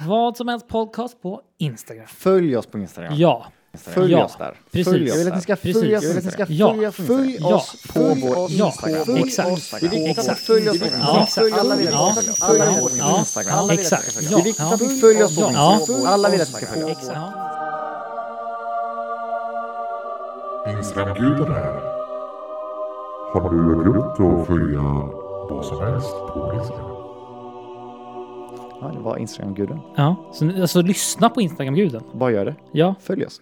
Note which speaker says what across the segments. Speaker 1: Vad som helst podcast på Instagram.
Speaker 2: Följ oss på Instagram.
Speaker 1: Ja.
Speaker 2: Följ
Speaker 1: Ja,
Speaker 2: oss där.
Speaker 1: precis.
Speaker 2: Följ oss
Speaker 1: Jag
Speaker 3: Jag vill
Speaker 2: där.
Speaker 3: att ni ska
Speaker 1: Precis.
Speaker 3: följa, jag vill att ni ska
Speaker 1: Ja.
Speaker 3: följa,
Speaker 2: Följ
Speaker 1: Ja.
Speaker 2: oss på
Speaker 3: Följ
Speaker 2: vår
Speaker 3: oss
Speaker 2: Instagram.
Speaker 3: på
Speaker 1: Exakt.
Speaker 2: Det är viktigt att
Speaker 3: Exakt.
Speaker 2: följa oss på
Speaker 3: Det är viktigt.
Speaker 2: Instagram.
Speaker 1: Exakt.
Speaker 2: Alla vill
Speaker 1: Ja.
Speaker 2: att vi ska följa
Speaker 3: Alla
Speaker 2: oss på
Speaker 3: vill
Speaker 1: Ja,
Speaker 2: Instagram.
Speaker 1: ja,
Speaker 2: Alla vill
Speaker 1: exakt.
Speaker 2: att vi ska följa oss.
Speaker 1: Ja,
Speaker 2: Det är viktigt
Speaker 1: ja.
Speaker 2: att vi följer oss på
Speaker 1: Ja.
Speaker 2: Instagram. Alla vill att vi ska följa oss.
Speaker 1: Exakt. Ja.
Speaker 4: Instagramgudarna här. Har du glömt att följa vad som helst på Instagram?
Speaker 2: Ja, det var Instagram-guden.
Speaker 1: ja. Så, alltså lyssna på Instagram-guden.
Speaker 2: Bara gör det.
Speaker 1: Ja.
Speaker 2: Följ oss.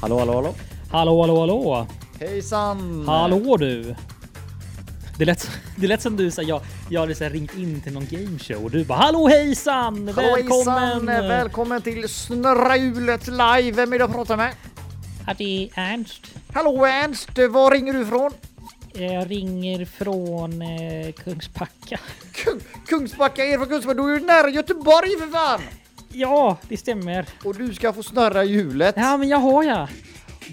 Speaker 2: Hallå, hallå, hallå.
Speaker 1: Hallå, hallå, hallå.
Speaker 2: Hejsan!
Speaker 1: Hallå du. Det lät, det lät som du sa, jag, jag hade så här ringt in till någon gameshow och du bara hallå hejsan, eh,
Speaker 2: Hallå,
Speaker 1: välkommen.
Speaker 2: hejsan! Välkommen till Snurrahjulet live. Vem är det jag pratar med?
Speaker 1: Ja, det är Ernst.
Speaker 2: Hallå Ernst, var ringer du ifrån?
Speaker 1: Jag ringer från eh, Kungsbacka.
Speaker 2: Kung, Kungsbacka, är från Kungsbacka? Du är ju nära Göteborg för fan!
Speaker 1: Ja, det stämmer.
Speaker 2: Och du ska få snurra hjulet.
Speaker 1: Ja, men jag har jag.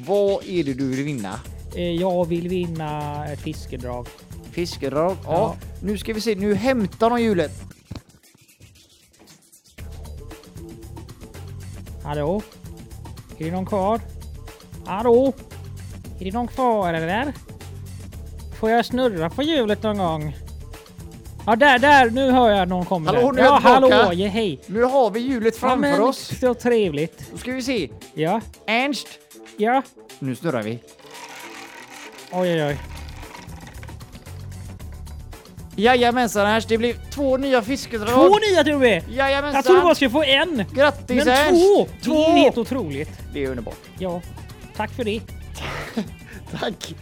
Speaker 2: Vad är det du vill vinna?
Speaker 1: Eh, Jag vill vinna ett fiskedrag.
Speaker 2: Fiskedrag? Ja.
Speaker 1: Ja.
Speaker 2: Nu ska vi se, nu hämtar de hjulet.
Speaker 1: Hallå? Är det någon kvar? Hallå? Är det någon kvar eller? Får jag snurra på hjulet någon gång? Ja, där, där, nu hör jag någon komma. där.
Speaker 2: Hallå, nu är
Speaker 1: Ja,
Speaker 2: jag
Speaker 1: hallå,
Speaker 2: tillbaka.
Speaker 1: ja, hej.
Speaker 2: Nu har vi hjulet framför
Speaker 1: ja, men,
Speaker 2: oss.
Speaker 1: Så trevligt.
Speaker 2: Då ska vi se.
Speaker 1: Ja,
Speaker 2: Ernst,
Speaker 1: ja.
Speaker 2: nu snurrar vi.
Speaker 1: Oj, oj, oj.
Speaker 2: Jajamensan Ernst, det blev två nya fiskedrag.
Speaker 1: Två nya Tobbe!
Speaker 2: Jajamensan!
Speaker 1: Jag trodde bara skulle få en. Men
Speaker 2: Grattis Ernst!
Speaker 1: två!
Speaker 2: Två!
Speaker 1: Det är helt otroligt.
Speaker 2: Det är underbart.
Speaker 1: Ja, tack för det.
Speaker 2: Tack!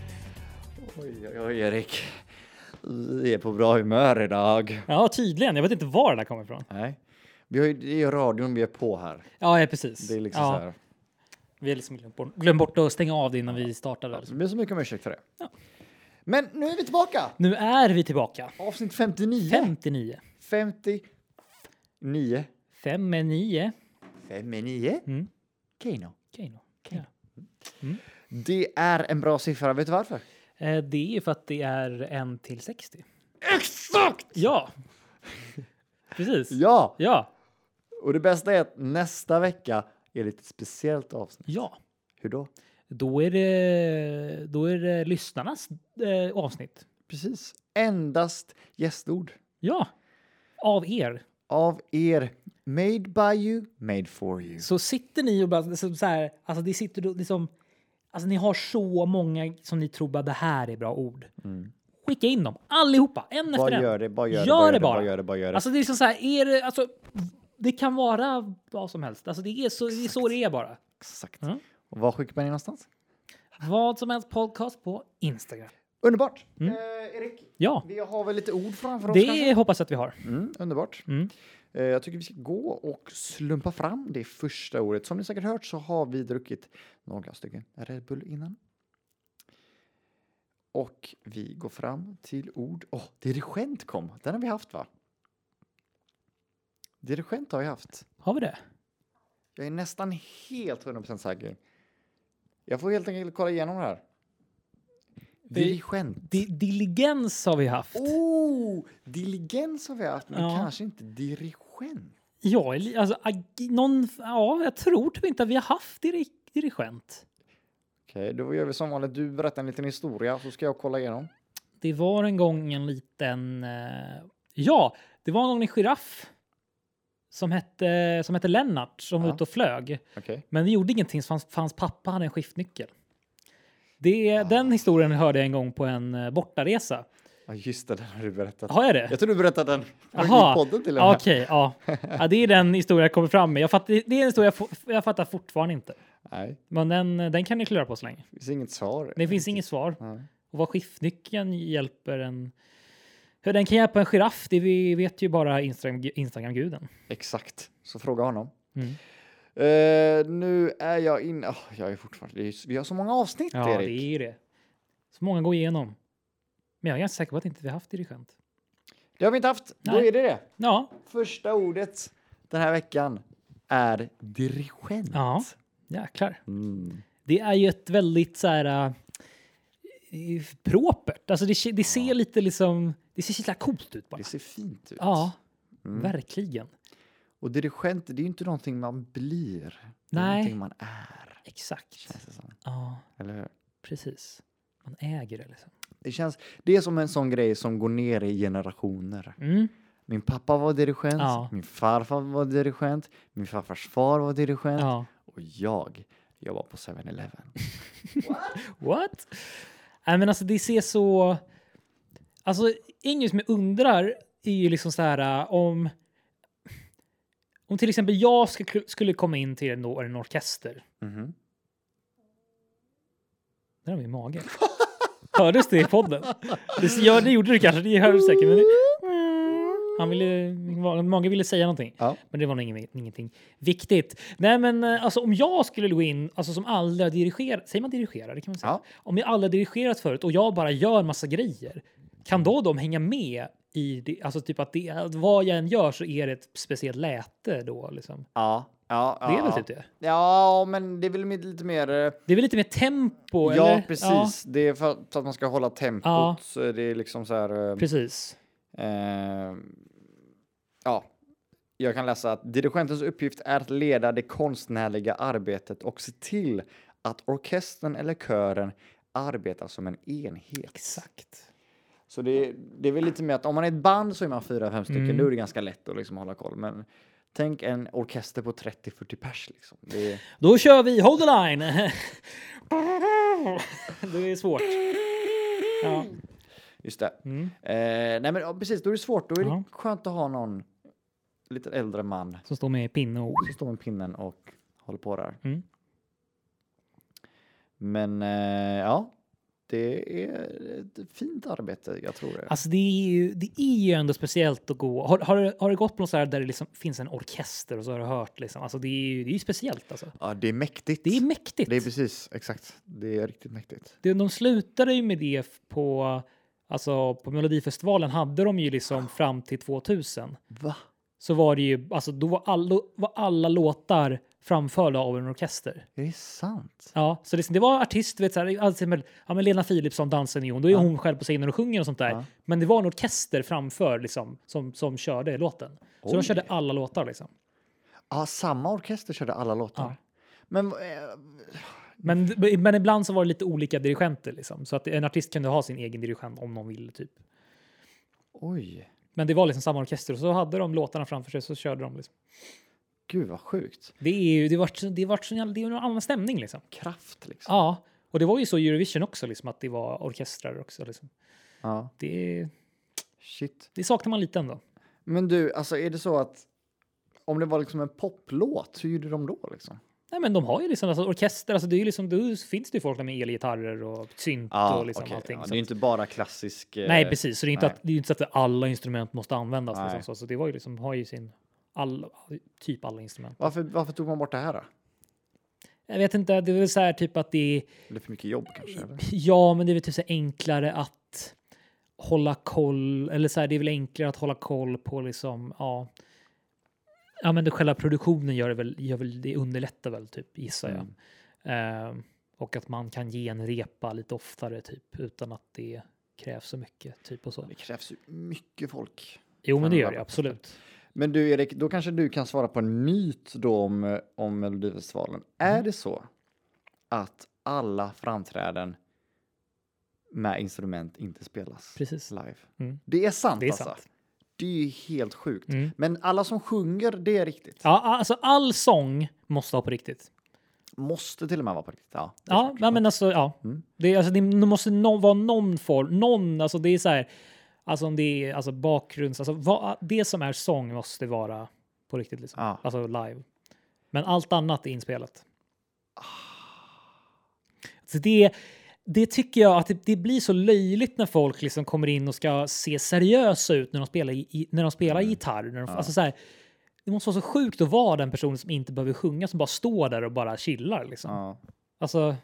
Speaker 2: Oj, oj, oj, Erik. Vi är på bra humör idag.
Speaker 1: Ja, tydligen. Jag vet inte var det där kommer ifrån.
Speaker 2: Nej. Vi har ju, det är ju radion vi är på här.
Speaker 1: Ja, ja precis.
Speaker 2: Det är liksom
Speaker 1: ja,
Speaker 2: så här.
Speaker 1: Vi har liksom glömt bort, glömt bort att stänga av det innan vi startade.
Speaker 2: Så vi ber så mycket om ursäkt för det. Men nu är vi tillbaka!
Speaker 1: Nu är vi tillbaka.
Speaker 2: Avsnitt 59.
Speaker 1: 59.
Speaker 2: 59.
Speaker 1: 5 är 9.
Speaker 2: 59?
Speaker 1: Mm.
Speaker 2: Keno.
Speaker 1: Okej då. Ja.
Speaker 2: Det är en bra siffra, vet du varför?
Speaker 1: Eh, Det är ju för att det är 1 till 60.
Speaker 2: Exakt!
Speaker 1: Ja! Precis.
Speaker 2: Ja,
Speaker 1: Ja.
Speaker 2: och det bästa är att nästa vecka är det ett speciellt avsnitt.
Speaker 1: Ja.
Speaker 2: Hur då?
Speaker 1: Då är det, då är det lyssnarnas eh, avsnitt.
Speaker 2: Precis. Endast gästord.
Speaker 1: Ja. Av er.
Speaker 2: Av er. Made by you, made for you.
Speaker 1: Så sitter ni och bara så så här, alltså det sitter då liksom, alltså ni har så många som ni tror bara det här är bra ord. Skicka in dem allihopa, en
Speaker 2: Mm. Bara
Speaker 1: efter en.
Speaker 2: gör det, bara gör det,
Speaker 1: Gör
Speaker 2: bara
Speaker 1: det bara.
Speaker 2: gör det, bara gör det, bara gör det.
Speaker 1: Alltså det är liksom så här, är det, alltså, det kan vara vad som helst. Alltså det är så det, är så det är bara.
Speaker 2: Exakt.
Speaker 1: Mm.
Speaker 2: Och var skickar man in någonstans?
Speaker 1: Vad som helst podcast på Instagram.
Speaker 2: Underbart! Eh, Erik,
Speaker 1: Ja,
Speaker 2: vi har väl lite ord framför oss kanske?
Speaker 1: Mm. det hoppas jag att vi har.
Speaker 2: Mm, underbart.
Speaker 1: Mm.
Speaker 2: Eh, Jag tycker vi ska gå och slumpa fram det första ordet. Som ni säkert hört så har vi druckit några stycken Red Bull innan. Och vi går fram till ord. Åh, dirigent kom. Den har vi haft va? Dirigent har vi haft.
Speaker 1: Har vi det?
Speaker 2: Jag är nästan helt 100% säker. Jag får helt enkelt kolla igenom det här. Dirigent.
Speaker 1: Di diligens har vi haft.
Speaker 2: Oh, diligens har vi haft, men
Speaker 1: Ja.
Speaker 2: kanske inte dirigent.
Speaker 1: Ja, eller- alltså, ag- någon, ja, jag tror typ inte att vi har haft diri dirigent.
Speaker 2: Okej, då gör vi som vanligt. Du berättar en liten historia så ska jag kolla igenom.
Speaker 1: Det var en gång en liten... Eh, ja, det var någon giraff som hette, som hette Lennart som var
Speaker 2: Ja.
Speaker 1: ute och flög.
Speaker 2: Okej.
Speaker 1: Men det gjorde ingenting så hans, för hans pappa hade en skiftnyckel. Det, Den historien hörde jag en gång på en eh, bortaresa.
Speaker 2: Ja, just det, den har du berättat.
Speaker 1: Har jag det?
Speaker 2: Jag tror du berättade den var
Speaker 1: Jaha.
Speaker 2: i podden till och
Speaker 1: Ja,
Speaker 2: med.
Speaker 1: Okej, ja. ja. Det är den historia jag kommer fram med. Jag fattar, det är en historia jag, fo- jag fattar fortfarande inte.
Speaker 2: Nej,
Speaker 1: Men den, den kan ni klura på så länge.
Speaker 2: det finns inget svar.
Speaker 1: Det finns inget svar.
Speaker 2: Nej.
Speaker 1: Och vad skiftnyckeln hjälper en... Hur den kan hjälpa en giraff, det vi vet ju bara Instagram, Instagram-guden.
Speaker 2: Exakt, så fråga honom.
Speaker 1: Mm.
Speaker 2: Eh, nu är jag inne... Ah, jag är fortfarande... det är- Vi har så många avsnitt,
Speaker 1: Ja, det
Speaker 2: Erik.
Speaker 1: är ju det. Så många går igenom. Men jag är ganska säker på att inte vi har haft dirigent.
Speaker 2: Det har vi inte haft. Då
Speaker 1: Nej.
Speaker 2: är det det.
Speaker 1: Ja,
Speaker 2: Första ordet den här veckan är dirigent.
Speaker 1: Ja. jäklar.
Speaker 2: Mm.
Speaker 1: Det är ju ett väldigt så här eh, propert. Alltså det, ke- det ser lite liksom, det ser så jävla coolt ut bara.
Speaker 2: Det ser fint ut.
Speaker 1: Ja, Mm. verkligen.
Speaker 2: Och dirigent, det är ju inte någonting man blir. Det är
Speaker 1: Nej.
Speaker 2: någonting man är.
Speaker 1: Exakt.
Speaker 2: känns det som.
Speaker 1: Ja,
Speaker 2: Eller hur?
Speaker 1: precis. Man äger det liksom.
Speaker 2: Det, känns, det är som en sån grej som går ner i generationer.
Speaker 1: Mm.
Speaker 2: Min pappa var dirigent,
Speaker 1: Ja.
Speaker 2: min farfar var dirigent, min farfars far var dirigent
Speaker 1: Ja.
Speaker 2: och jag jobbar på 7-Eleven.
Speaker 1: What? Nej, men alltså det ser så... Alltså, inget som jag undrar är ju liksom så här äh, om... Om till exempel jag ska, skulle komma in till en, en orkester.
Speaker 2: Mhm.
Speaker 1: Där har vi magen. Hördes det i podden? Det, ja, det gjorde det kanske. Det hördes säkert. Men det, han ville, många ville säga någonting.
Speaker 2: Ja.
Speaker 1: Men det var nog inget, ingenting viktigt. Nej, men eh, alltså, om jag skulle gå in, alltså som aldrig har dirigerat, säger man dirigera? Det kan man säga.
Speaker 2: Ja.
Speaker 1: Om jag aldrig har dirigerat förut och jag bara gör massa grejer, kan då de hänga med i det? Alltså typ att det, att vad jag än gör så är det ett speciellt läte då liksom.
Speaker 2: Ja, ja, ja.
Speaker 1: Det är väl
Speaker 2: ja.
Speaker 1: typ det.
Speaker 2: Ja, men det är väl lite mer... eh,
Speaker 1: Det är väl lite mer tempo?
Speaker 2: ja,
Speaker 1: eller?
Speaker 2: precis. Det är för att för att man ska hålla tempot.
Speaker 1: Ja.
Speaker 2: Så det är liksom så här... eh,
Speaker 1: precis.
Speaker 2: Eh, ja, jag kan läsa att dirigentens uppgift är att leda det konstnärliga arbetet och se till att orkestern eller kören arbetar som en enhet.
Speaker 1: Exakt.
Speaker 2: Så det, det är väl lite mer att om man är ett band så är man fyra, fem stycken.
Speaker 1: Mm.
Speaker 2: Då är det ganska lätt att liksom hålla koll. Men tänk en orkester på 30-40 pers. Liksom. Det, är-
Speaker 1: Då kör vi Hold the line! det är svårt. Ja.
Speaker 2: just det.
Speaker 1: Mm.
Speaker 2: Eh, nej men ja, precis, då är det svårt. Då är det
Speaker 1: Ja.
Speaker 2: skönt att ha någon lite äldre man
Speaker 1: Som står med pinne och...
Speaker 2: som står med pinnen och håller på där.
Speaker 1: Mm.
Speaker 2: Men eh, ja, det är ett fint arbete, jag tror det.
Speaker 1: Alltså det är, ju, det är ju ändå speciellt att gå. Har, har, du- har du gått på något så här där det liksom finns en orkester och så har du hört liksom. Alltså det är ju det är ju speciellt alltså.
Speaker 2: Ja, det är mäktigt.
Speaker 1: Det är mäktigt.
Speaker 2: Det är precis, exakt. Det är riktigt mäktigt.
Speaker 1: Det- De slutade ju med det på, alltså på Melodifestivalen hade de ju liksom fram till 2000.
Speaker 2: Va?
Speaker 1: Så var det ju, alltså då var, all, då var alla låtar framförda av en orkester.
Speaker 2: Är det sant?
Speaker 1: Ja, så liksom, det, det var artist, du vet, så här, alltså, med, ja, men Lena Philipsson, Dansen är hon, då är
Speaker 2: Ja.
Speaker 1: hon själv på scenen och sjunger och sånt där.
Speaker 2: Ja.
Speaker 1: Men det var en orkester framför liksom, som, som körde låten. Så de
Speaker 2: Oj.
Speaker 1: körde alla låtar liksom.
Speaker 2: Ja, samma orkester körde alla låtar.
Speaker 1: Ja.
Speaker 2: Men eh,
Speaker 1: Men, men ibland så var det lite olika dirigenter liksom. Så att en artist kunde ha sin egen dirigent om någon ville typ.
Speaker 2: oj,
Speaker 1: Men det var liksom samma orkester och så hade de låtarna framför sig så körde de liksom.
Speaker 2: gud vad sjukt.
Speaker 1: Det är ju, det vart, så- det vart så jävla, det är ju en annan stämning liksom.
Speaker 2: Kraft liksom.
Speaker 1: Ja, och det var ju så i Eurovision också liksom att det var orkestrar också liksom.
Speaker 2: Ja,
Speaker 1: Det,
Speaker 2: shit.
Speaker 1: det saknar man lite ändå.
Speaker 2: Men du, alltså är det så att om det var liksom en poplåt, hur gjorde de då liksom?
Speaker 1: Nej, men de har ju liksom alltså, orkester. Alltså, det är ju liksom, då finns det ju folk där med elgitarrer och synt och liksom
Speaker 2: Ah, okej.
Speaker 1: allting.
Speaker 2: Ja,
Speaker 1: så
Speaker 2: det är
Speaker 1: att-
Speaker 2: inte bara klassisk... eh,
Speaker 1: nej, precis. Så det är ju inte,
Speaker 2: nej.
Speaker 1: att, det är ju inte så att alla instrument måste användas.
Speaker 2: Nej.
Speaker 1: Liksom, så. så det var ju liksom, har ju sin, all, typ alla instrument.
Speaker 2: Varför, varför tog man bort det här då?
Speaker 1: Jag vet inte, det är väl så här typ att det är,
Speaker 2: Är det för mycket jobb kanske? Eller?
Speaker 1: ja, men det är väl typ så här enklare att hålla koll, eller så här, det är väl enklare att hålla koll på liksom, ja, ja men det, själva produktionen gör det väl, gör väl, det underlättar väl typ, gissar jag.
Speaker 2: Mm.
Speaker 1: Ehm, och att man kan ge en repa lite oftare typ utan att det krävs så mycket. Typ och så.
Speaker 2: Det krävs ju mycket folk.
Speaker 1: Jo,
Speaker 2: kan
Speaker 1: men det
Speaker 2: det
Speaker 1: gör
Speaker 2: vara.
Speaker 1: det absolut.
Speaker 2: Men du Erik, då kanske du kan svara på en myt då om, eh, om
Speaker 1: Mhm.
Speaker 2: Melodifestivalen. Är det så att alla framträden med instrument inte spelas
Speaker 1: Precis.
Speaker 2: live?
Speaker 1: Mm.
Speaker 2: Det är sant
Speaker 1: Det är
Speaker 2: alltså?
Speaker 1: sant.
Speaker 2: Det är ju helt sjukt.
Speaker 1: Mm.
Speaker 2: Men alla som sjunger, det är riktigt.
Speaker 1: Ja, alltså all sång måste vara på riktigt.
Speaker 2: Måste till och med vara på riktigt. Ja, det är
Speaker 1: Ja,
Speaker 2: klart.
Speaker 1: ja men alltså ja.
Speaker 2: Mm.
Speaker 1: Det, är- alltså, det måste nå- vara någon form, någon, alltså det är så här, alltså om det är alltså bakgrunds, alltså vad, det som är sång måste vara på riktigt liksom.
Speaker 2: Ja.
Speaker 1: Alltså live. Men allt annat är inspelat. Så det, det tycker jag att det, det blir så löjligt när folk liksom kommer in och ska se seriösa ut när de spelar, i- i, när de spelar gitarr. När de, alltså så här, Det måste vara så sjukt att vara den personen som inte behöver sjunga, som bara står där och bara chillar. Liksom.
Speaker 2: Ja.
Speaker 1: Alltså,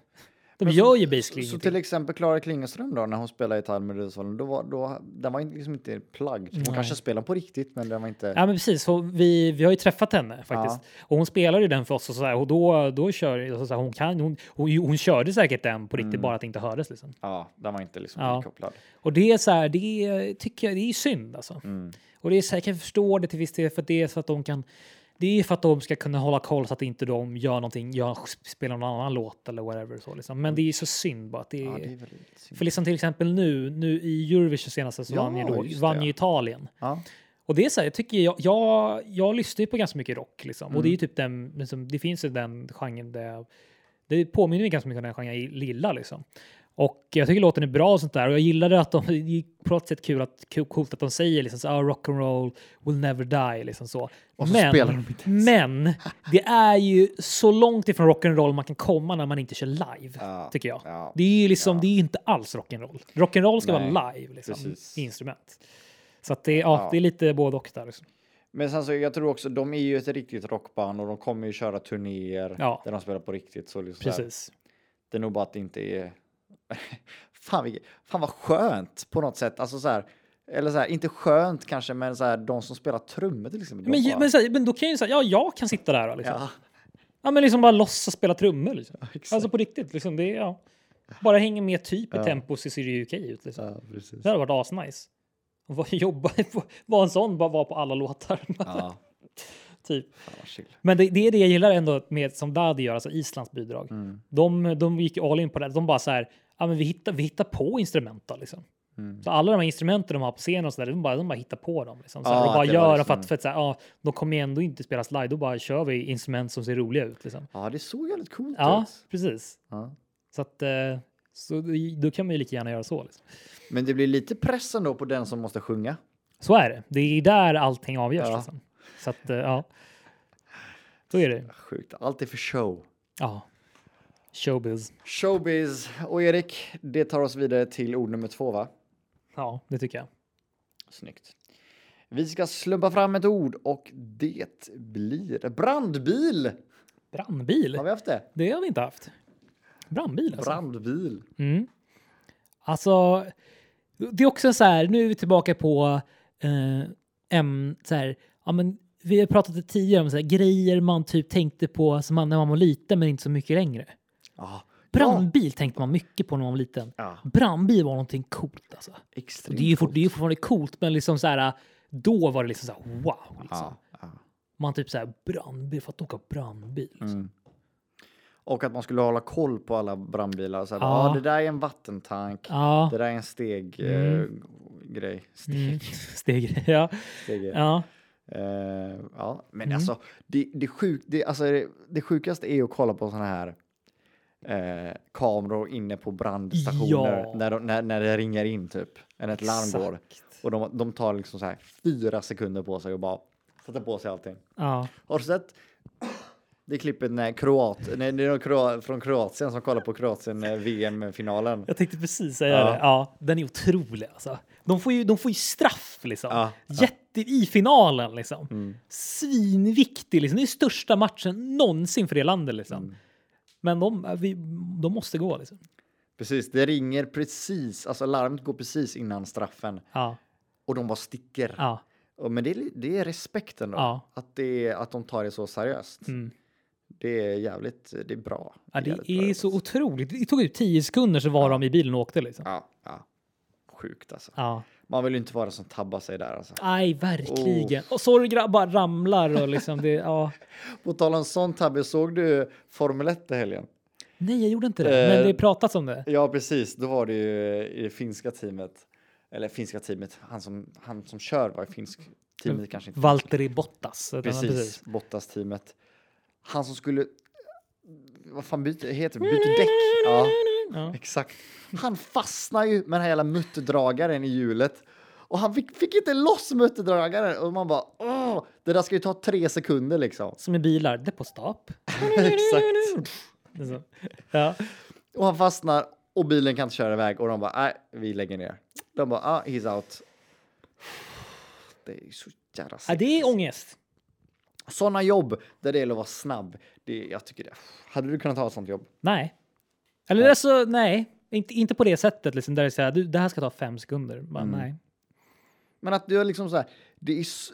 Speaker 1: de
Speaker 2: Men så-
Speaker 1: gör ju basically
Speaker 2: Så
Speaker 1: ingenting.
Speaker 2: till exempel Klara Klingenström då, när hon spelade gitarr med Melodifestivalen, då var, då, den var inte- liksom inte plugged. Hon
Speaker 1: Nej.
Speaker 2: kanske spelade på riktigt, men den var inte...
Speaker 1: Ja, men precis. För vi, vi har ju träffat henne faktiskt. Och hon spelade ju den för oss och, så här, och då, då kör alltså, så här, hon, kan, hon, hon, hon körde säkert den på riktigt,
Speaker 2: Mm.
Speaker 1: bara att det inte hördes. Liksom.
Speaker 2: Ja, den var inte liksom
Speaker 1: Ja.
Speaker 2: kopplad.
Speaker 1: Och det är så här, det är- tycker jag, det är synd alltså.
Speaker 2: Mm.
Speaker 1: Och det är så här, jag kan förstå det till viss del för att det är så att de kan det är för att de ska kunna hålla koll så att inte de gör någonting, gör, spelar någon annan låt eller whatever. Så liksom. Men det är så synd bara att det är...
Speaker 2: Mm. Ja, det är väldigt synd.
Speaker 1: För liksom till exempel nu, nu i Eurovision senast så
Speaker 2: Ja,
Speaker 1: vann ju, då,
Speaker 2: just det.
Speaker 1: vann ju Italien.
Speaker 2: Ja.
Speaker 1: Och det är så här, jag tycker jag, jag, jag lyssnar ju på ganska mycket rock liksom. Och det är
Speaker 2: Mm.
Speaker 1: ju typ den, liksom, det finns ju den genren där, jag- det påminner mig ganska mycket om den genren jag gillar liksom. Och jag tycker låten är bra och sånt där. Och jag gillade att de, det är på något sätt kul att, kul- coolt att de säger liksom så ah, rock and roll will never die liksom så.
Speaker 2: Och så spelar de inte ens.
Speaker 1: men det är ju så långt ifrån rock and roll man kan komma när man inte kör live,
Speaker 2: Ja,
Speaker 1: tycker jag.
Speaker 2: ja,
Speaker 1: det är ju liksom, det är inte alls rock'n'roll. Rock'n'roll ska
Speaker 2: Nej,
Speaker 1: vara live, liksom,
Speaker 2: precis.
Speaker 1: i instrument. Så att det, ja,
Speaker 2: Ja.
Speaker 1: det är lite både och där. Liksom.
Speaker 2: Men sen så, jag tror också, de är ju ett riktigt rockband och de kommer ju köra turnéer
Speaker 1: Ja.
Speaker 2: där de spelar på riktigt. Så liksom så här,
Speaker 1: Precis.
Speaker 2: det är nog bara att det inte är... fan, vilket, fan vad skönt på något sätt. Alltså så här, eller så här, inte skönt kanske, men så här, de som spelar trummor till exempel. de
Speaker 1: Men,
Speaker 2: bara-
Speaker 1: men, så här, men då kan jag ju säga, ja, jag kan sitta där. Liksom. Ja.
Speaker 2: ja,
Speaker 1: men liksom bara låtsas spela trummor. Liksom.
Speaker 2: exakt.
Speaker 1: Alltså på riktigt, liksom, det är, ja. Bara hänga med typ i
Speaker 2: Ja.
Speaker 1: tempo så ser det ju okej ut. Liksom.
Speaker 2: ja, precis.
Speaker 1: Det hade varit asnice. Vad- Jobba, vara en sån, bara vara på alla låtar.
Speaker 2: Ja,
Speaker 1: typ.
Speaker 2: fan vad chill.
Speaker 1: Men det, det är det jag gillar ändå med som Dadi gör, alltså Islands bidrag.
Speaker 2: Mm.
Speaker 1: De, de gick all in på det. De bara så här, ja men vi hittar, vi hittar på instrumenta liksom.
Speaker 2: Mm.
Speaker 1: Så alla de här instrumenten de har på scenen och så där, de bara, de bara hittar på dem. Liksom. Så här,
Speaker 2: Ja,
Speaker 1: de bara
Speaker 2: att det var
Speaker 1: gör dem
Speaker 2: liksom-
Speaker 1: för att, för att så här, ja, de kommer ju ändå inte spela slide, då bara kör vi instrument som ser roliga ut. Liksom.
Speaker 2: Ja, det såg jävligt coolt
Speaker 1: Ja,
Speaker 2: ut.
Speaker 1: precis.
Speaker 2: Ja.
Speaker 1: Så att eh, så, då kan man ju lika gärna göra så. Liksom.
Speaker 2: Men det blir lite press ändå på den som måste sjunga.
Speaker 1: Så är det. Det är där allting avgörs.
Speaker 2: Ja.
Speaker 1: Liksom. Så att, eh, ja. Så är det.
Speaker 2: Sjukt, allt är för show.
Speaker 1: Ja. Showbiz.
Speaker 2: Showbiz och Erik, det tar oss vidare till ord nummer två va?
Speaker 1: Ja, det tycker jag.
Speaker 2: Snyggt. Vi ska slumpa fram ett ord och det blir brandbil.
Speaker 1: Brandbil.
Speaker 2: Har vi haft det?
Speaker 1: Det har vi inte haft. Brandbil alltså.
Speaker 2: Brandbil.
Speaker 1: Mm. Alltså, det är också så här, nu är vi tillbaka på eh, äm, så här, ja, men vi har pratat tidigare om så här, grejer man typ tänkte på som man, när man var liten men inte så mycket längre.
Speaker 2: Ja,
Speaker 1: Brandbil tänkte man mycket på när man var liten.
Speaker 2: Ja.
Speaker 1: Brandbil var någonting coolt alltså. Och
Speaker 2: extremt
Speaker 1: Det är, ju fort,
Speaker 2: coolt.
Speaker 1: det är ju fortfarande coolt men liksom så här, då var det liksom så här wow. Liksom.
Speaker 2: Ja, ja.
Speaker 1: Man typ så här brandbil, för att åka brandbil. Liksom.
Speaker 2: Mm. Och att man skulle hålla koll på alla brandbilar. Så här,
Speaker 1: Ja.
Speaker 2: ja. det där är en vattentank.
Speaker 1: Ja,
Speaker 2: Det där är en steg... Eh, grej. Steg,
Speaker 1: mm. steg. Ja.
Speaker 2: steg,
Speaker 1: ja. Mm.
Speaker 2: Eh, ja, men alltså det, det, sjuk, det, alltså det, det sjukaste är ju att kolla på såna här eh, kameror inne på brandstationer
Speaker 1: Ja.
Speaker 2: när, de, när, när det ringer in typ. Eller ett larm går. Och de, de tar liksom så här fyra sekunder på sig och bara sätter på sig allting.
Speaker 1: Ja.
Speaker 2: Har du sett det klippet när Kroat, nej, det är någon Kroa- från Kroatien som kollar på Kroatien eh, VM-finalen?
Speaker 1: Jag tänkte precis säga
Speaker 2: Ja.
Speaker 1: det. Ja, den är otrolig alltså. De får ju, de får ju straff liksom.
Speaker 2: Ja, Mm.
Speaker 1: Jätte i finalen liksom. Svinviktig liksom. Det är största matchen någonsin för det landet liksom.
Speaker 2: Mm.
Speaker 1: Men de, vi, de måste gå liksom.
Speaker 2: Precis, det ringer precis, alltså larmet går precis innan straffen
Speaker 1: Ja,
Speaker 2: och de bara sticker.
Speaker 1: ja,
Speaker 2: Ja, men det är, li- det är respekten då.
Speaker 1: Ja.
Speaker 2: Att, det är, att de tar det så seriöst.
Speaker 1: Mm.
Speaker 2: Det är jävligt, det är bra.
Speaker 1: ja. Det
Speaker 2: jävligt bra
Speaker 1: är
Speaker 2: jobbat.
Speaker 1: så otroligt. Det tog ut tio sekunder så var de i bilen och åkte liksom.
Speaker 2: Ja, ja. Sjukt alltså.
Speaker 1: Ja,
Speaker 2: Man vill ju inte vara den som tabbar sig där alltså.
Speaker 1: nej verkligen. Och sorry grabbar, ramlar och liksom det. Ja,
Speaker 2: På tal om sån tabbe, såg du Formel 1 i helgen?
Speaker 1: nej, jag gjorde inte det, men
Speaker 2: Eh,
Speaker 1: det pratats om det.
Speaker 2: Ja, precis. Då var det ju i det finska teamet. Eller finska teamet, han som, han som kör var i finsk.
Speaker 1: Mm.
Speaker 2: Teamet kanske inte.
Speaker 1: Valtteri Bottas. utan-
Speaker 2: Precis, Bottas-teamet. Han som skulle... eh, Vad fan byter, heter det? Byter däck? Ja.
Speaker 1: Ja.
Speaker 2: Exakt. Han fastnar ju med den här jävla mutterdragaren i hjulet. Och han fick, fick inte loss mutterdragaren. Och man bara, åh, det där ska ju ta tre sekunder liksom.
Speaker 1: Som i bilar, det på stopp.
Speaker 2: Exakt.
Speaker 1: Liksom. Ja.
Speaker 2: Och han fastnar och bilen kan inte köra iväg. Och de bara, nej, vi lägger ner. De bara, ah, he's out. Det är ju så jävla
Speaker 1: Ja,
Speaker 2: sick.
Speaker 1: det är ångest.
Speaker 2: Sådana jobb där det gäller att vara snabb. Det, jag tycker det. Hade du kunnat ha ett sånt jobb?
Speaker 1: Nej. Eller
Speaker 2: Nej.
Speaker 1: alltså, nej. Inte, inte på det sättet liksom, där det säger du, det här ska ta fem sekunder. Bara,
Speaker 2: Mm.
Speaker 1: Nej.
Speaker 2: Men att du är liksom så här, det är s-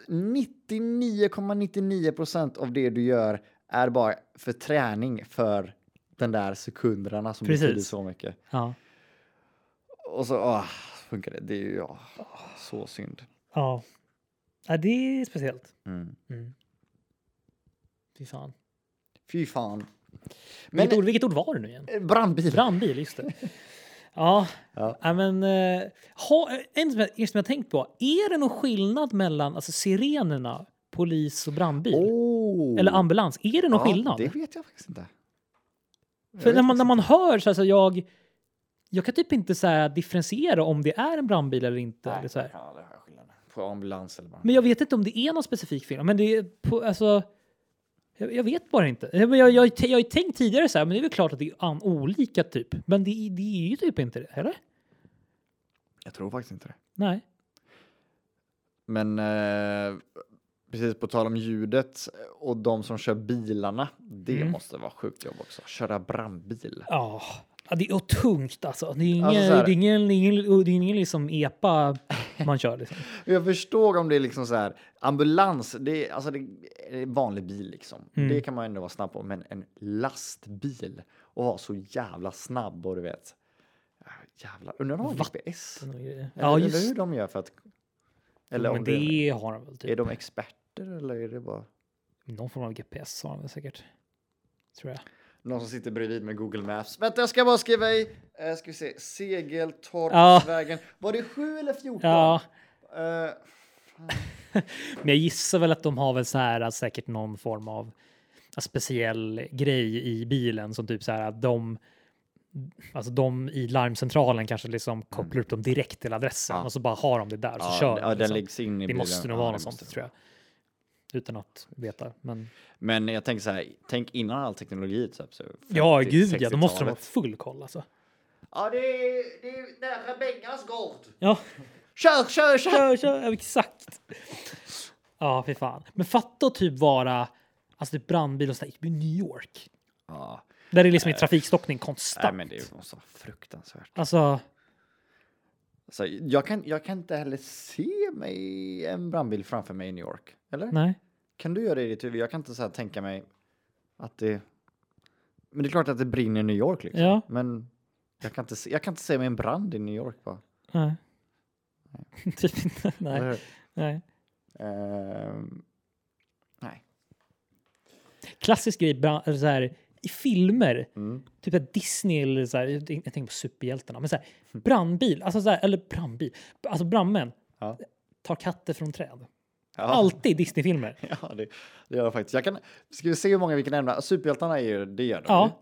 Speaker 2: 99,99 procent av det du gör är bara för träning för den där sekunderna som betyder
Speaker 1: Precis.
Speaker 2: så mycket.
Speaker 1: Ja.
Speaker 2: Och så åh, funkar det. Det är ju ja, så synd.
Speaker 1: ja. Ja, det är speciellt.
Speaker 2: Mm.
Speaker 1: Mm. Fy fan.
Speaker 2: Fy fan. Men
Speaker 1: Vilket, ord, vilket ord var det nu igen?
Speaker 2: eh, brandbil.
Speaker 1: Brandbil, just det. Ja,
Speaker 2: Ja.
Speaker 1: ja men eh, ha, en som jag, en som jag tänkt på. Är det någon skillnad mellan alltså, sirenerna, polis och brandbil?
Speaker 2: Oh.
Speaker 1: Eller ambulans? Är det någon
Speaker 2: Ja,
Speaker 1: skillnad?
Speaker 2: Det vet jag faktiskt inte. Jag
Speaker 1: För
Speaker 2: vet
Speaker 1: när man,
Speaker 2: faktiskt
Speaker 1: när man
Speaker 2: inte.
Speaker 1: hör så här, så jag, jag kan typ inte så här, differentiera om det är en brandbil eller inte. Eller så här.
Speaker 2: Ja, det har skillnad. På ambulans eller bara.
Speaker 1: Men jag vet inte om det är någon specifik film. Men det är på, alltså, jag, jag vet bara inte. Jag, jag, jag, har ju t- jag har ju tänkt tidigare så här, men det är väl klart att det är an, olika typ. Men det, är- det är ju typ inte det, eller?
Speaker 2: Jag tror faktiskt inte det.
Speaker 1: Nej.
Speaker 2: Men eh, precis på tal om ljudet och de som kör bilarna. Det
Speaker 1: Mm.
Speaker 2: måste vara sjukt jobb också. Köra brandbil.
Speaker 1: Ja. Ja, det är och tungt alltså. Det är ingen,
Speaker 2: Alltså, så här-
Speaker 1: det är ingen, det är ingen, det är ingen liksom epa man kör liksom.
Speaker 2: Jag förstår om det är liksom så här. Ambulans, det är, alltså det är en vanlig bil liksom.
Speaker 1: Mm.
Speaker 2: Det kan man ändå vara snabb på. Men en lastbil och vara så jävla snabb och du vet. äh, Jävlar, undrar om de har GPS? Eller,
Speaker 1: Ja,
Speaker 2: eller
Speaker 1: just
Speaker 2: hur de gör för att... Eller
Speaker 1: Men
Speaker 2: om det,
Speaker 1: det har de väl
Speaker 2: är
Speaker 1: typ.
Speaker 2: de experter eller är det bara...
Speaker 1: Någon form av GPS har de väl säkert. Tror jag.
Speaker 2: Någon som sitter bredvid med Google Maps. Vänta, jag ska bara skriva i. Eh, ska vi se. Segeltorpsvägen. Var det 7 eller 14?
Speaker 1: Ja.
Speaker 2: Eh,
Speaker 1: Men jag gissar väl att de har väl så här att säkert någon form av speciell grej i bilen som typ så här att de Alltså de i larmcentralen kanske liksom kopplar upp dem direkt till adressen
Speaker 2: Mm. Ja.
Speaker 1: och så bara har de det där så
Speaker 2: ja,
Speaker 1: kör de,
Speaker 2: ja, den
Speaker 1: liksom.
Speaker 2: läggs in i
Speaker 1: Det
Speaker 2: bilen.
Speaker 1: måste nog
Speaker 2: Ja,
Speaker 1: vara
Speaker 2: det
Speaker 1: något sånt
Speaker 2: måste
Speaker 1: tror jag. Utan att veta. Men
Speaker 2: Men jag tänker så här. Tänk innan all teknologi. Typ, så
Speaker 1: ja,
Speaker 2: 50,
Speaker 1: gud ja, då måste de ha
Speaker 2: 60-talet.
Speaker 1: full koll alltså.
Speaker 2: Ja, det är, det är nära Bengas gård.
Speaker 1: Ja,
Speaker 2: Kör, kör, kör!
Speaker 1: kör, kör, ja, exakt. Ja, fy fan. Men fatta att typ vara alltså typ brandbil och sådär i New York.
Speaker 2: Ja,
Speaker 1: Där det liksom är trafikstockning konstant.
Speaker 2: Eh, nej, men det måste vara fruktansvärt.
Speaker 1: Alltså,
Speaker 2: Alltså, jag, kan, jag kan inte heller se mig i en brandbil framför mig i New York. Eller?
Speaker 1: nej.
Speaker 2: Kan du göra det i ditt huvud? Jag kan inte så här tänka mig att det... Men det är klart att det brinner i New York liksom.
Speaker 1: Ja.
Speaker 2: Men jag kan, inte se, jag kan inte se mig en brand i New York bara.
Speaker 1: nej. typ inte. Nej.
Speaker 2: Eller hur?
Speaker 1: nej.
Speaker 2: Ehm, nej.
Speaker 1: Klassisk grej bra- eller så här, i filmer.
Speaker 2: Mm.
Speaker 1: Typ att Disney eller så här, jag tänk- jag tänker på superhjältarna. Men så här,
Speaker 2: Mm.
Speaker 1: brandbil, alltså så här, eller brandbil, alltså brandmän
Speaker 2: Ja.
Speaker 1: tar katter från träd.
Speaker 2: Ja.
Speaker 1: Alltid Disneyfilmer.
Speaker 2: Ja, det, det gör jag faktiskt. Jag kan, ska vi se hur många vi kan nämna? Superhjältarna är ju, det gör de
Speaker 1: Ja.
Speaker 2: ju.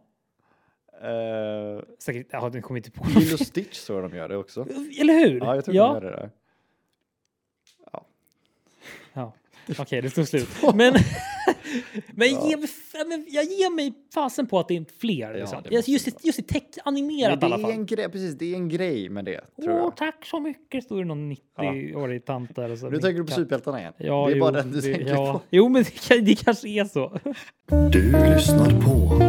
Speaker 2: Ehm,
Speaker 1: Säkert, ja, den kommer inte på.
Speaker 2: Lilo Stitch tror jag de gör det också.
Speaker 1: Eller hur?
Speaker 2: Ja, jag tror
Speaker 1: ja.
Speaker 2: de gör det där.
Speaker 1: Ja. Okej, det tog slut. Men, men, ge mig, f- men jag ger mig fasen på att det är fler.
Speaker 2: Ja,
Speaker 1: Liksom.
Speaker 2: det
Speaker 1: Just-
Speaker 2: måste
Speaker 1: just, i,
Speaker 2: det vara.
Speaker 1: just i tech,
Speaker 2: Men
Speaker 1: animerat i
Speaker 2: det
Speaker 1: alla
Speaker 2: är
Speaker 1: fall.
Speaker 2: en grej, precis, det är en grej med det. Tror
Speaker 1: Åh,
Speaker 2: jag.
Speaker 1: tack så mycket, står det någon 90-årig tant där. Och så
Speaker 2: Nu tänker du på
Speaker 1: nickar.
Speaker 2: superhjältarna igen.
Speaker 1: Ja,
Speaker 2: det är
Speaker 1: jo,
Speaker 2: bara den du
Speaker 1: det-
Speaker 2: tänker
Speaker 1: ja.
Speaker 2: på.
Speaker 1: Jo, men det, kan- det kanske är så.
Speaker 2: Du lyssnar på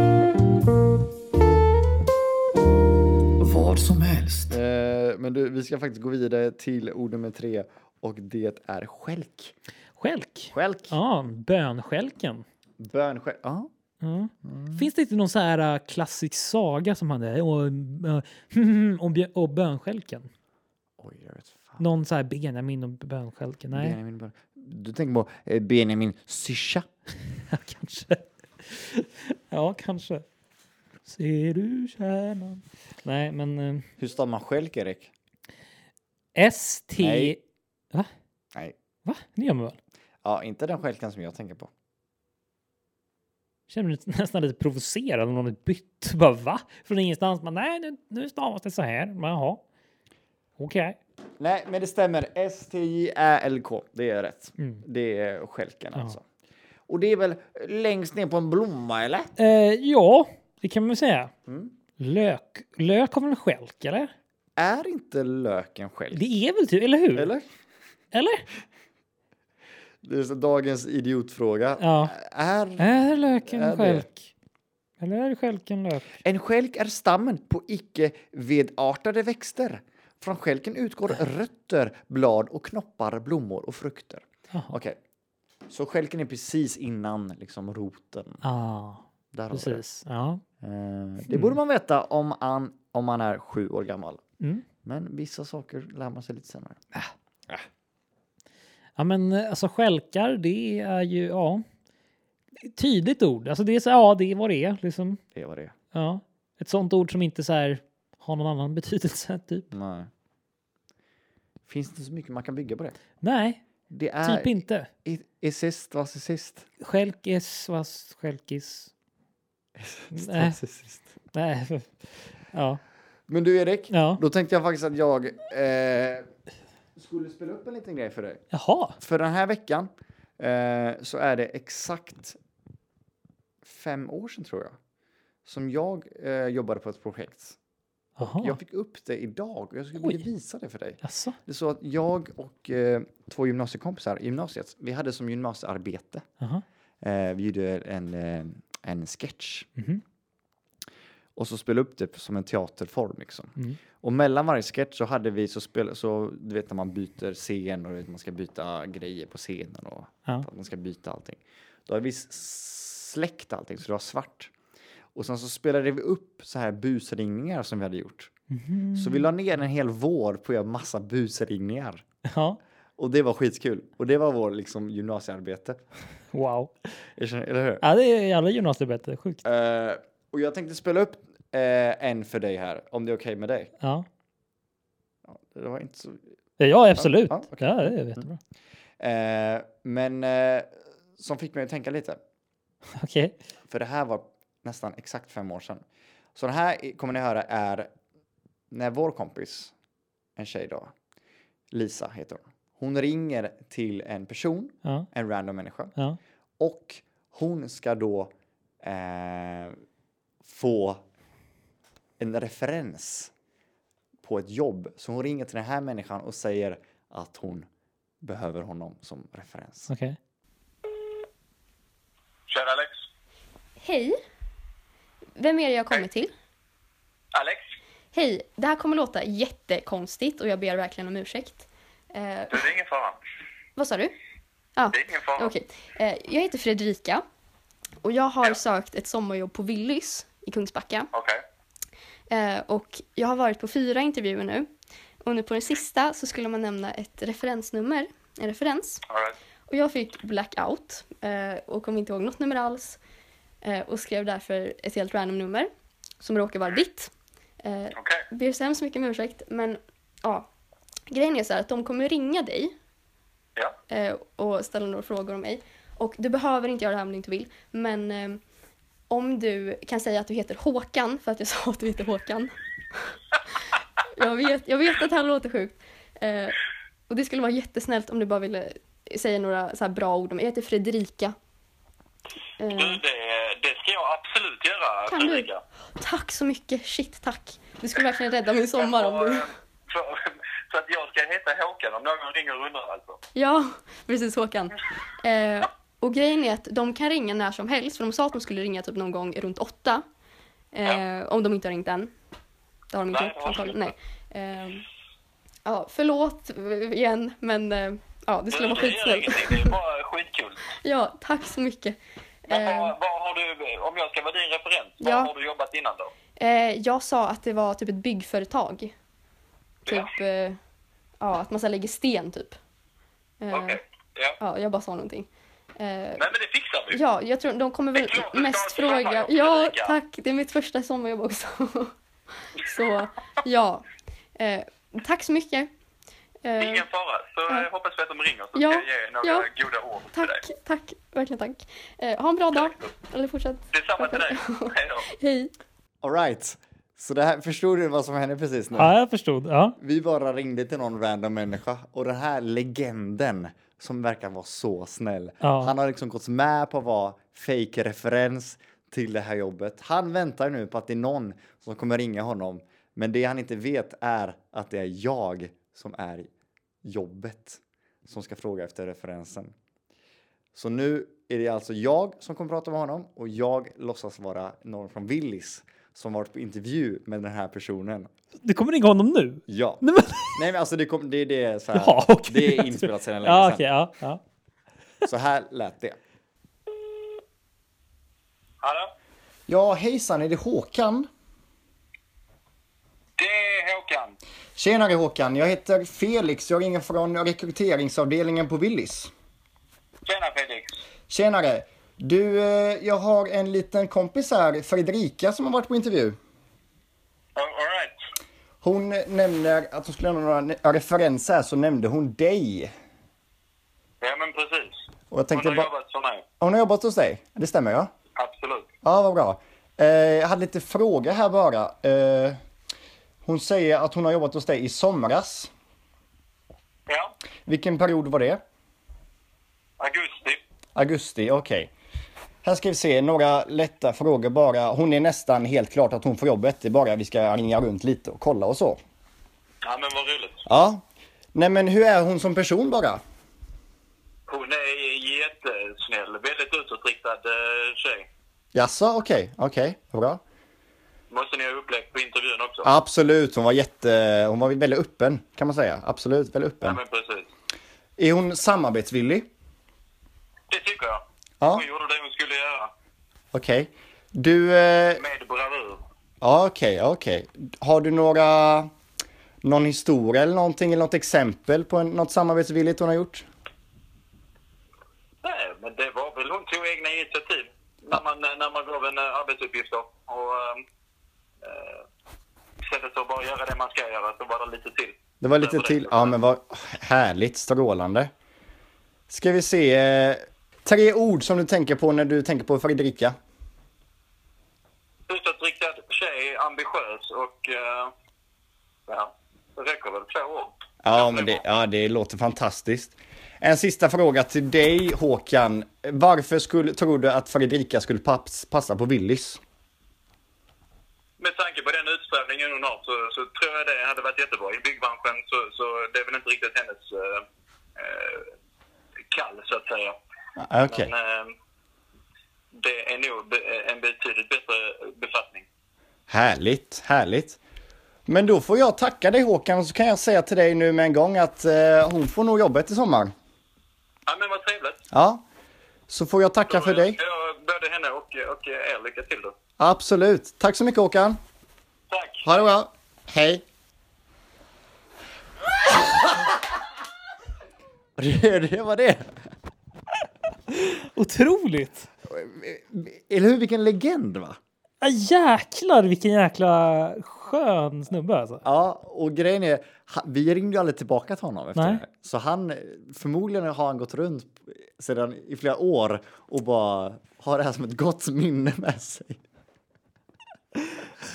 Speaker 2: vad som helst. Eh, men du, vi ska faktiskt gå vidare till ord nummer tre och det är skälk.
Speaker 1: Skälk.
Speaker 2: Skälk.
Speaker 1: Ja, bönskälken.
Speaker 2: Bönskälk. Ja.
Speaker 1: Ja.
Speaker 2: Mm.
Speaker 1: Finns det inte någon så här äh, klassisk saga som hade och, äh, och, bjö- och bönskälken?
Speaker 2: Oj, jag vet fan.
Speaker 1: Någon så här Benjamin och bönskälken? Nej,
Speaker 2: Benjamin Bön- Du tänker på eh, Benjamin Syrsa.
Speaker 1: kanske. ja, kanske. Ser du kärnan? Nej, men äh,
Speaker 2: Hur stavar man skälk, Erik?
Speaker 1: ST...
Speaker 2: Nej.
Speaker 1: Va?
Speaker 2: Nej.
Speaker 1: Va? Det gör man väl?
Speaker 2: Ja, inte den skälken som jag tänker på.
Speaker 1: känner mig nästan lite provocerad om någon är bytt. Bara va? Från ingenstans. Men nej, nu, nu stavas det så här. Men jaha. Okej.
Speaker 2: Nej, men det stämmer. S-T-J-Ä-L-K. Det är rätt.
Speaker 1: Mm.
Speaker 2: Det är skälken
Speaker 1: Ja.
Speaker 2: alltså. Och det är väl längst ner på en blomma, eller?
Speaker 1: Eh, ja, det kan man väl säga.
Speaker 2: Mm.
Speaker 1: Lök. Lök har väl en skälk, eller?
Speaker 2: Är inte löken skälk?
Speaker 1: Det är väl typ, eller hur?
Speaker 2: Eller?
Speaker 1: Eller?
Speaker 2: Det är så dagens idiotfråga.
Speaker 1: Ja.
Speaker 2: Är
Speaker 1: Är löken
Speaker 2: Är det?
Speaker 1: stjälk? Eller är stjälken lök?
Speaker 2: En stjälk är stammen på icke-vedartade växter. Från stjälken utgår rötter, blad och knoppar, blommor och frukter.
Speaker 1: Jaha.
Speaker 2: Okej. Så stjälken är precis innan liksom roten.
Speaker 1: Ja,
Speaker 2: Där har vi det.
Speaker 1: precis. Ja.
Speaker 2: Eh, det borde man veta om man, om man är sju år gammal.
Speaker 1: Mm.
Speaker 2: Men vissa saker lär man sig lite senare.
Speaker 1: ja, men eh, alltså stjälkar, det är ju, ja. Ett Tydligt ord. Alltså det är så, ja, det är vad det är liksom.
Speaker 2: Det var det är.
Speaker 1: Ja. Ett sånt ord som inte så här har någon annan betydelse typ.
Speaker 2: Nej. Finns det inte så mycket man kan bygga på det?
Speaker 1: Nej,
Speaker 2: Det är...
Speaker 1: typ inte.
Speaker 2: i- i sist, vad är sist?
Speaker 1: Stjälkis, vad stjälkis? Nej.
Speaker 2: Vad är sist?
Speaker 1: Nej. Ja,
Speaker 2: Men du Erik,
Speaker 1: ja.
Speaker 2: Då tänkte jag faktiskt att jag eh, skulle spela upp en liten grej för dig.
Speaker 1: Jaha.
Speaker 2: För den här veckan eh, så är det exakt fem år sedan tror jag som jag eh, jobbade på ett projekt.
Speaker 1: Jaha.
Speaker 2: Jag fick upp det idag och jag skulle
Speaker 1: Oj.
Speaker 2: vilja visa det för dig.
Speaker 1: Jaså?
Speaker 2: Det är så att jag och eh, två gymnasiekompisar i gymnasiet, vi hade som gymnasiearbete.
Speaker 1: Jaha.
Speaker 2: Eh, vi gjorde en, eh, en sketch
Speaker 1: Mhm.
Speaker 2: och så spelade upp det som en teaterform liksom.
Speaker 1: Mm.
Speaker 2: Och mellan varje sketch så hade vi så spel, så du vet när man byter scen och du vet, man ska byta grejer på scenen och
Speaker 1: Ja.
Speaker 2: att man ska byta allting. Då hade vi s- släckt allting så det var svart. Och sen så spelade vi upp så här busringningar som vi hade gjort.
Speaker 1: Mhm.
Speaker 2: Så vi la ner en hel vår på att göra massa busringningar.
Speaker 1: Ja.
Speaker 2: Och det var skitkul. Och det var vår liksom gymnasiearbete.
Speaker 1: Wow.
Speaker 2: Jag känner, eller hur?
Speaker 1: Ja, det är jävla gymnasiebättre. Sjukt.
Speaker 2: Eh, och jag tänkte spela upp eh, en för dig här, om det är okej med dig.
Speaker 1: Ja.
Speaker 2: Ja, det var inte så
Speaker 1: Ja, absolut.
Speaker 2: Ja,
Speaker 1: Ja,
Speaker 2: okej. Mm.
Speaker 1: det är jättebra.
Speaker 2: Eh, men eh, som fick mig att tänka lite.
Speaker 1: Okej.
Speaker 2: För det här var nästan exakt fem år sedan. Så den här i- kommer ni höra är när vår kompis, en tjej då, Lisa heter hon. Hon ringer till en person,
Speaker 1: Ja,
Speaker 2: en random människa.
Speaker 1: ja.
Speaker 2: Och hon ska då eh, få en referens på ett jobb. Så hon ringer till den här människan och säger att hon behöver honom som referens.
Speaker 1: Okej.
Speaker 3: Kör Alex.
Speaker 5: Hej. Vem är det jag kommer till?
Speaker 3: Alex?
Speaker 5: Hej. Det här kommer låta jättekonstigt och jag ber verkligen om ursäkt. Eh,
Speaker 3: Du, det är ingen fara.
Speaker 5: vad sa du? Ja,
Speaker 3: Det är ingen fara.
Speaker 5: okej. Eh, jag heter Fredrika och jag har sökt ett sommarjobb på Willys i Kungsbacka.
Speaker 3: Okej.
Speaker 5: Eh, och jag har varit på fyra intervjuer nu och nu på den sista så skulle man nämna ett referensnummer, en referens.
Speaker 3: all right.
Speaker 5: Och jag fick blackout eh, och kom inte ihåg något nummer alls eh, och skrev därför ett helt random nummer som råkar vara ditt. Eh,
Speaker 3: Okej.
Speaker 5: ber så hemskt mycket om ursäkt men ja, grejen är så här att de kommer ringa dig
Speaker 3: Ja.
Speaker 5: eh, och ställa några frågor om mig och du behöver inte göra det här om du inte vill men eh, om du kan säga att du heter Håkan för att jag sa att du heter Håkan. jag, vet, jag vet att det här låter sjukt eh, och det skulle vara jättesnällt om du bara ville säga några så här bra ord om mig. Jag heter Fredrika. Eh,
Speaker 3: Du, det, det ska jag absolut göra,
Speaker 5: Kan du?
Speaker 3: Mm. Fredrika.
Speaker 5: tack så mycket, shit tack. Du skulle verkligen rädda min sommar om
Speaker 3: Så,
Speaker 5: du...
Speaker 3: eh, så, så att jag ska heta Håkan om någon ringer och undrar alltså.
Speaker 5: Ja, precis Håkan. Eh, och grejen är att de kan ringa när som helst, för de sa att de skulle ringa typ någon gång runt åtta. Eh, Om de inte har ringt än. Det har de inte
Speaker 3: Nej,
Speaker 5: gjort
Speaker 3: det har de
Speaker 5: antagligen. Nej. Eh, ja, förlåt eh, igen, men eh, ja, det skulle
Speaker 3: Du,
Speaker 5: vara
Speaker 3: det gör
Speaker 5: skitsnällt.
Speaker 3: ingenting. Det är bara skitkul.
Speaker 5: Ja, tack så mycket.
Speaker 3: Men
Speaker 5: Eh,
Speaker 3: vad, vad har du, om jag ska vara din referens,
Speaker 5: Ja.
Speaker 3: vad har du jobbat innan då?
Speaker 5: Eh, jag sa att det var typ ett byggföretag. Typ, eh, ja, att man så här lägger sten typ. Eh,
Speaker 3: Okej. Ja.
Speaker 5: Ja, jag bara sa någonting. Eh,
Speaker 3: Nej, men det fixar vi.
Speaker 5: Ja, jag tror de kommer väl
Speaker 3: Det är klart du
Speaker 5: mest
Speaker 3: ska ha ett
Speaker 5: fråga.
Speaker 3: sommarjobb,
Speaker 5: Ja,
Speaker 3: Erika.
Speaker 5: tack. Det är mitt första sommarjobb också. Så ja. Eh, tack så mycket. Eh,
Speaker 3: Ingen fara. Så
Speaker 5: Ja.
Speaker 3: eh, hoppas vi att de ringer så
Speaker 5: Ja.
Speaker 3: ska jag ge några
Speaker 5: Ja.
Speaker 3: goda ord till dig.
Speaker 5: tack, tack. Verkligen tack. Eh, ha en bra dag. Eller fortsätt.
Speaker 3: Detsamma till dig. Hej då.
Speaker 5: Hej.
Speaker 2: Alright. Så det här, förstod du vad som hände precis nu?
Speaker 1: Ja, jag förstod. Ja.
Speaker 2: Vi bara ringde till någon random människa och den här legenden som verkar vara så snäll.
Speaker 1: Ja.
Speaker 2: Han har liksom gått med på att vara fake referens till det här jobbet. Han väntar nu på att det är någon som kommer ringa honom. Men det han inte vet är att det är jag som är jobbet som ska fråga efter referensen. Så nu är det alltså jag som kommer prata med honom och jag låtsas vara någon från Willis som varit på intervju med den här personen.
Speaker 1: Du kommer ringa honom nu?
Speaker 2: Ja.
Speaker 1: Nej, men-
Speaker 2: Nej men alltså det, kom, det, det är så här,
Speaker 1: Ja, okej.
Speaker 2: det är inspelat sedan länge
Speaker 1: Ja,
Speaker 2: sedan.
Speaker 1: okej. ja, ja.
Speaker 2: Så här lät det.
Speaker 3: Hallå?
Speaker 6: Ja, hejsan, är det Håkan?
Speaker 3: Det är Håkan.
Speaker 6: Tjenare Håkan, jag heter Felix. Jag ringer från rekryteringsavdelningen på Willys.
Speaker 3: Tjena Felix.
Speaker 6: Tjenare! Du, eh, jag har en liten kompis här, Fredrika, som har varit på intervju.
Speaker 3: All all right.
Speaker 6: Hon nämner att hon skulle lämna några ne- referenser här, så nämnde hon dig.
Speaker 3: Ja men precis.
Speaker 6: Och jag
Speaker 3: Hon
Speaker 6: tänkte
Speaker 3: har
Speaker 6: bara...
Speaker 3: jobbat för mig.
Speaker 6: Hon har jobbat hos dig? Det stämmer ja?
Speaker 3: Absolut.
Speaker 6: Ja, vad bra. Eh, jag hade lite fråga här bara. Eh, hon säger att hon har jobbat hos dig i somras.
Speaker 3: Ja.
Speaker 6: Vilken period var det?
Speaker 3: Augusti.
Speaker 6: Augusti, okej. Här ska vi se, några lätta frågor bara. Hon är nästan helt klart att hon får jobbet. Det är bara vi ska ringa runt lite och kolla och så.
Speaker 3: Ja men vad roligt.
Speaker 6: Ja. Nej men hur är hon som person bara?
Speaker 3: Hon är jättesnäll. Väldigt utåtriktad eh, tjej.
Speaker 6: Jaså, okej, okej, bra.
Speaker 3: Måste ni ha upplägg på intervjun också?
Speaker 6: Absolut, hon var jätte, hon var väldigt öppen kan man säga. Absolut, väldigt
Speaker 3: Ja
Speaker 6: öppen.
Speaker 3: men precis.
Speaker 6: Är hon samarbetsvillig?
Speaker 3: Det tycker jag.
Speaker 6: Ja,
Speaker 3: Hon gjorde det hon skulle göra.
Speaker 6: okej. Du, eh,
Speaker 3: Med bravur.
Speaker 6: ja okej, okej. Har du några, någon historia eller någonting eller något exempel på en, något samarbetsvilligt hon har gjort?
Speaker 3: Nej, men det var väl hon tog egna initiativ när man, när man gav en eh, arbetsuppgift då. Och, ehm, eh, istället för att bara göra det man ska göra så var det lite till.
Speaker 6: Det var lite till. Ja, men vad härligt, strålande. Ska vi se. eh, Tre ord som du tänker på när du tänker på Fredrika.
Speaker 3: Utåtriktad tjej, ambitiös och... eh, ja, det räcker väl två år.
Speaker 6: Ja, men det, ja, det låter fantastiskt. En sista fråga till dig, Håkan. Varför skulle, tror du att Fredrika skulle paps- passa på Willys?
Speaker 3: Med tanke på den utställningen hon har så, så tror jag det hade varit jättebra. I byggbranschen så, så det är väl inte riktigt hennes eh, eh, kall, så att säga.
Speaker 6: Ah, Okej.
Speaker 3: Men ehm, det är nog be- eh, en betydligt bättre befattning.
Speaker 6: Härligt, härligt. Men då får jag tacka dig, Håkan, och så kan jag säga till dig nu med en gång att eh, hon får nog jobbet i sommar.
Speaker 3: Ja, men vad trevligt.
Speaker 6: Ja. Så får jag tacka för
Speaker 3: Då
Speaker 6: dig.
Speaker 3: önskar jag Både henne och, och er lycka till då.
Speaker 6: Absolut. Tack så mycket, Håkan.
Speaker 3: Tack.
Speaker 6: Ha det bra. Hej.
Speaker 2: Det, det var det.
Speaker 1: Otroligt!
Speaker 2: Eller hur? Vilken legend va?
Speaker 1: Ja, Ah, jäklar vilken jäkla skön snubbe alltså.
Speaker 2: Ja, och grejen är, ha- vi ringde ju aldrig tillbaka till honom efter
Speaker 1: Nej.
Speaker 2: det här. Så han, förmodligen har han gått runt sedan i flera år och bara har det här som ett gott minne med sig.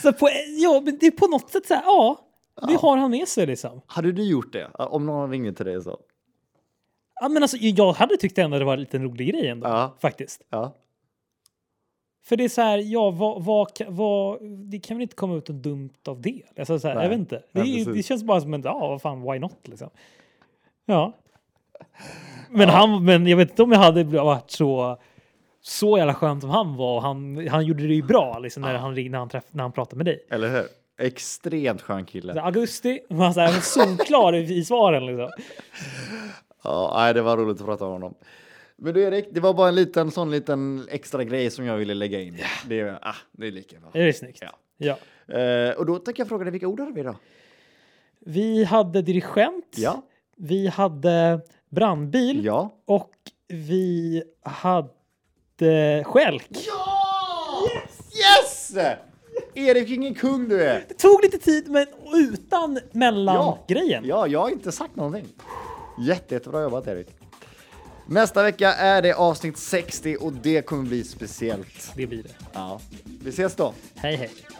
Speaker 1: Så på, ja, men det är på något sätt så här, ja, det har han med sig liksom.
Speaker 2: Hade du gjort det? Om någon ringer till dig så?
Speaker 1: Ja, men alltså, jag hade tyckt ändå det var en liten rolig grej ändå,
Speaker 2: Ja.
Speaker 1: faktiskt.
Speaker 2: Ja.
Speaker 1: För det är så här, ja, vad, vad, ka- vad, det kan väl inte komma ut något dumt av det? Alltså, så här, jag
Speaker 2: Nej.
Speaker 1: vet inte. Det,
Speaker 2: Nej,
Speaker 1: är ju-
Speaker 2: precis.
Speaker 1: det känns bara som en, ja, vad fan, why not liksom. Ja. Men, Han, men jag vet inte om jag hade varit så, så jävla skön som han var. Och Han, han gjorde det ju bra liksom, när, han, ringde- när, han träff, när han pratade med dig.
Speaker 2: Eller hur? Extremt skön kille.
Speaker 1: Så Alltså, augusti var så här solklar i, i svaren liksom.
Speaker 2: Ja, nej, det var roligt att prata om honom. Men du Erik, det var bara en liten sån liten extra grej som jag ville lägga in. Det, är- ah, det är lika bra.
Speaker 1: Det är snyggt.
Speaker 2: Ja.
Speaker 1: Ja.
Speaker 2: Eh, och då tänker jag fråga dig, vilka ord hade vi då?
Speaker 1: Vi hade dirigent.
Speaker 2: Ja.
Speaker 1: Vi hade brandbil.
Speaker 2: Ja.
Speaker 1: Och vi hade skälk.
Speaker 2: Yes! Erik, vilken kung du är!
Speaker 1: Det tog lite tid, men utan mellangrejen.
Speaker 2: Ja, jag har inte sagt någonting. Jätte, jättebra jobbat Erik. Nästa vecka är det avsnitt 60 och det kommer bli speciellt.
Speaker 1: Det blir det.
Speaker 2: Ja. Vi ses då!
Speaker 1: Hej, hej.